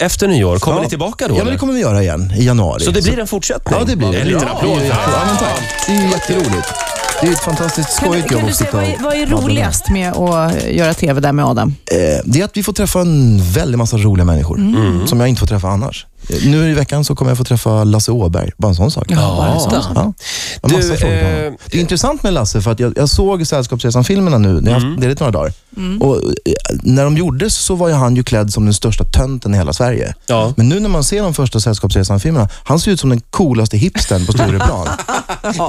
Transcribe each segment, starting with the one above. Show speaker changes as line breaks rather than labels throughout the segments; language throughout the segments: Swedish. efter nyår. Kommer
Ja.
ni tillbaka då?
Ja, men
eller?
det kommer vi göra igen i januari.
Så det blir en fortsättning?
Ja, det blir det.
En liten
Ja,
applåd.
det är jätte- Ja, men tack. Det är ju jätteroligt. Det är ett fantastiskt
Kan, du-
skojigt jobb
kan du
att
säga,
sitta
vad är,
och
vad är
prata med.
roligast med att göra TV där med Adam?
Eh, Det är att vi får träffa en väldig massa roliga människor
Mm.
Mm.
som jag inte får träffa annars. Eh, Nu i veckan så kommer jag få träffa Lasse Åberg. Bara en sån sak.
Ja, bara en sån sak.
Ja. Jag har massa
Du,
frågor till honom.
eh,
Det är intressant med Lasse för att jag, jag såg Sällskapsresan-filmerna nu. När jag har
Mm.
haft ledigt några dagar.
Mm.
Och, eh, när de gjordes så var ju han ju klädd som den största tönten i hela Sverige.
Ja.
Men nu när man ser de första Sällskapsresan-filmerna, han ser ut som den coolaste hipstern på Stureplan.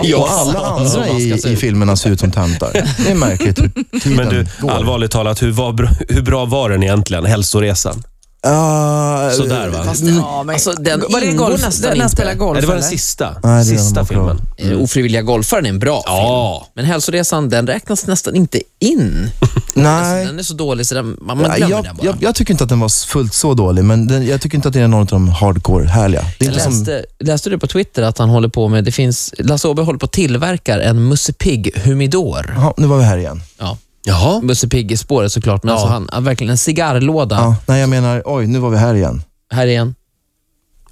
Ja.
Och alla
Som
andra
man ska
i,
säga.
i filmerna ser ut som töntar. Det är märkligt hur tiden
Men du,
går.
allvarligt talat, hur, var, bra- hur bra var den egentligen, hälsoresan?
Ah,
Sådär va?
fast-
Ja, men,
Alltså, den
var det
ingår
golf?
nästan
när han
inte.
spelar golf?
Nej, det var den
eller?
sista,
Nej, det är
sista
den var bra.
filmen.
Eh, Ofrivilliga golfaren är en bra
Ja.
film. Men Hälsoresan, den räknas nästan inte in. Alltså,
Nej.
Den är så dålig så den, man, man
Ja,
glömmer
jag,
den bara.
jag, jag tycker inte att den var s- fullt så dålig, men den, jag tycker inte att det är någon av de hardcore-härliga. Det är
Jag
inte som...
läste, läste du på Twitter att han håller på med, det finns, Lasse Åberg håller på att tillverka en Musse Pigg humidor.
Jaha, nu var vi här igen.
Ja.
Jaha.
Musse Pigg i spåret såklart, men alltså han, han, verkligen en cigarrlåda.
Ja, nej, jag menar, oj, nu var vi här igen.
Här igen.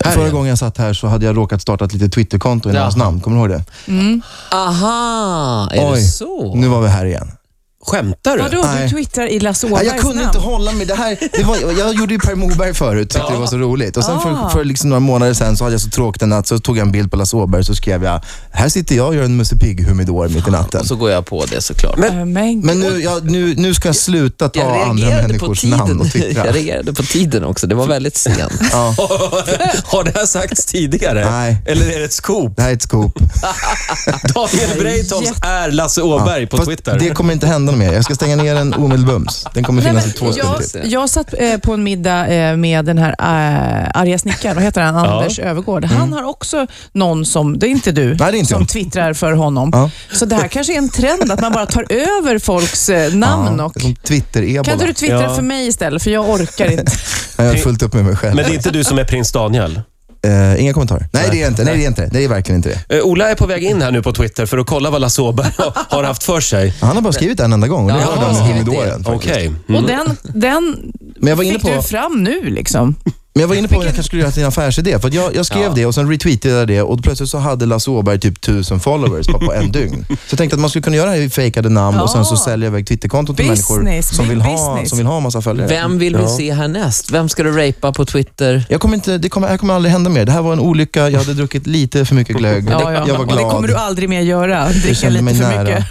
Här
Förra
igen.
gången jag satt här så hade jag råkat starta ett litet Twitterkonto i
Ja.
hans namn. Kommer du ihåg det?
Aha, är
Oj.
det så?
Nu var vi här igen.
Skämtar du?
Vadå, du
Nej.
twittrar i Lasse
Nej,
Åbergs
jag kunde
namn?
inte hålla mig. Det här, det var, jag gjorde ju Per Morberg förut, tyckte det var så roligt. Och sen
Ah.
för, för liksom några månader sen så hade jag så tråkigt en natt, så tog jag en bild på Lasse Åberg så skrev jag, här sitter jag och gör en Musse Pigg-humidor mitt i natten.
Och så går jag på det såklart.
Äh, Men,
Men nu, jag, nu, nu ska jag sluta ta
jag
andra
reagerade på
människors namn
tiden.
och twittra.
Jag reagerade på tiden också. Det var väldigt sent.
Ja,
Har det här sagts tidigare?
Nej.
Eller är det ett scoop?
det här är ett scoop.
Daniel Breitholtz är Lasse Åberg på
Fast
Twitter.
Det kommer inte hända något mer. Jag ska stänga ner den omedelbums. Den kommer
Nej,
finnas i
men
två stund
jag,
till.
jag satt eh, på en middag eh, med den här eh, arga snickaren, vad heter han? Anders Övergård. Han
Mm.
har också någon som, det är inte du,
det är inte
som
jag.
twittrar för honom.
Ja.
Så det här kanske är en trend, att man bara tar över folks eh, namn.
Ja,
och,
det är som
kan inte
Twitter-ebola.
du twittra
Ja.
för mig istället, för jag orkar inte.
Jag har fullt upp med mig själv.
Men det är inte du som är prins Daniel?
Eh, inga kommentarer. Nej, det är inte. Nej, det är inte. Det är verkligen inte det.
Eh, Ola är på väg in här nu på Twitter för att kolla vad Lasse Åberg har haft för sig.
Han har bara skrivit en enda gång och det
Ja,
var
han har
den
skrivit
humidoren. faktiskt.
Okej.
Och den, den
Men jag var inne
fick
på...
du fram nu liksom.
Men jag var inne på att jag kanske skulle göra till en affärsidé. För att jag, jag skrev det och sen retweetade jag det och plötsligt så hade Lasse Åberg typ tusen followers bara på en dygn. Så jag tänkte att man skulle kunna göra det i fejkade namn och sen så
Ja.
sälja iväg Twitterkonton till
Business,
människor som
big
vill, ha,
business.
som vill ha en massa följare.
Vem vill vi
Ja.
se härnäst? Vem ska du rapa på Twitter?
Jag kommer inte, det kommer, det här kommer aldrig hända mer. Det här var en olycka, jag hade druckit lite för mycket glögg.
Ja, ja.
Jag var
Och det
glad.
kommer du aldrig mer göra,
Jag
dricka
kände
lite
mig
för
nära.
mycket.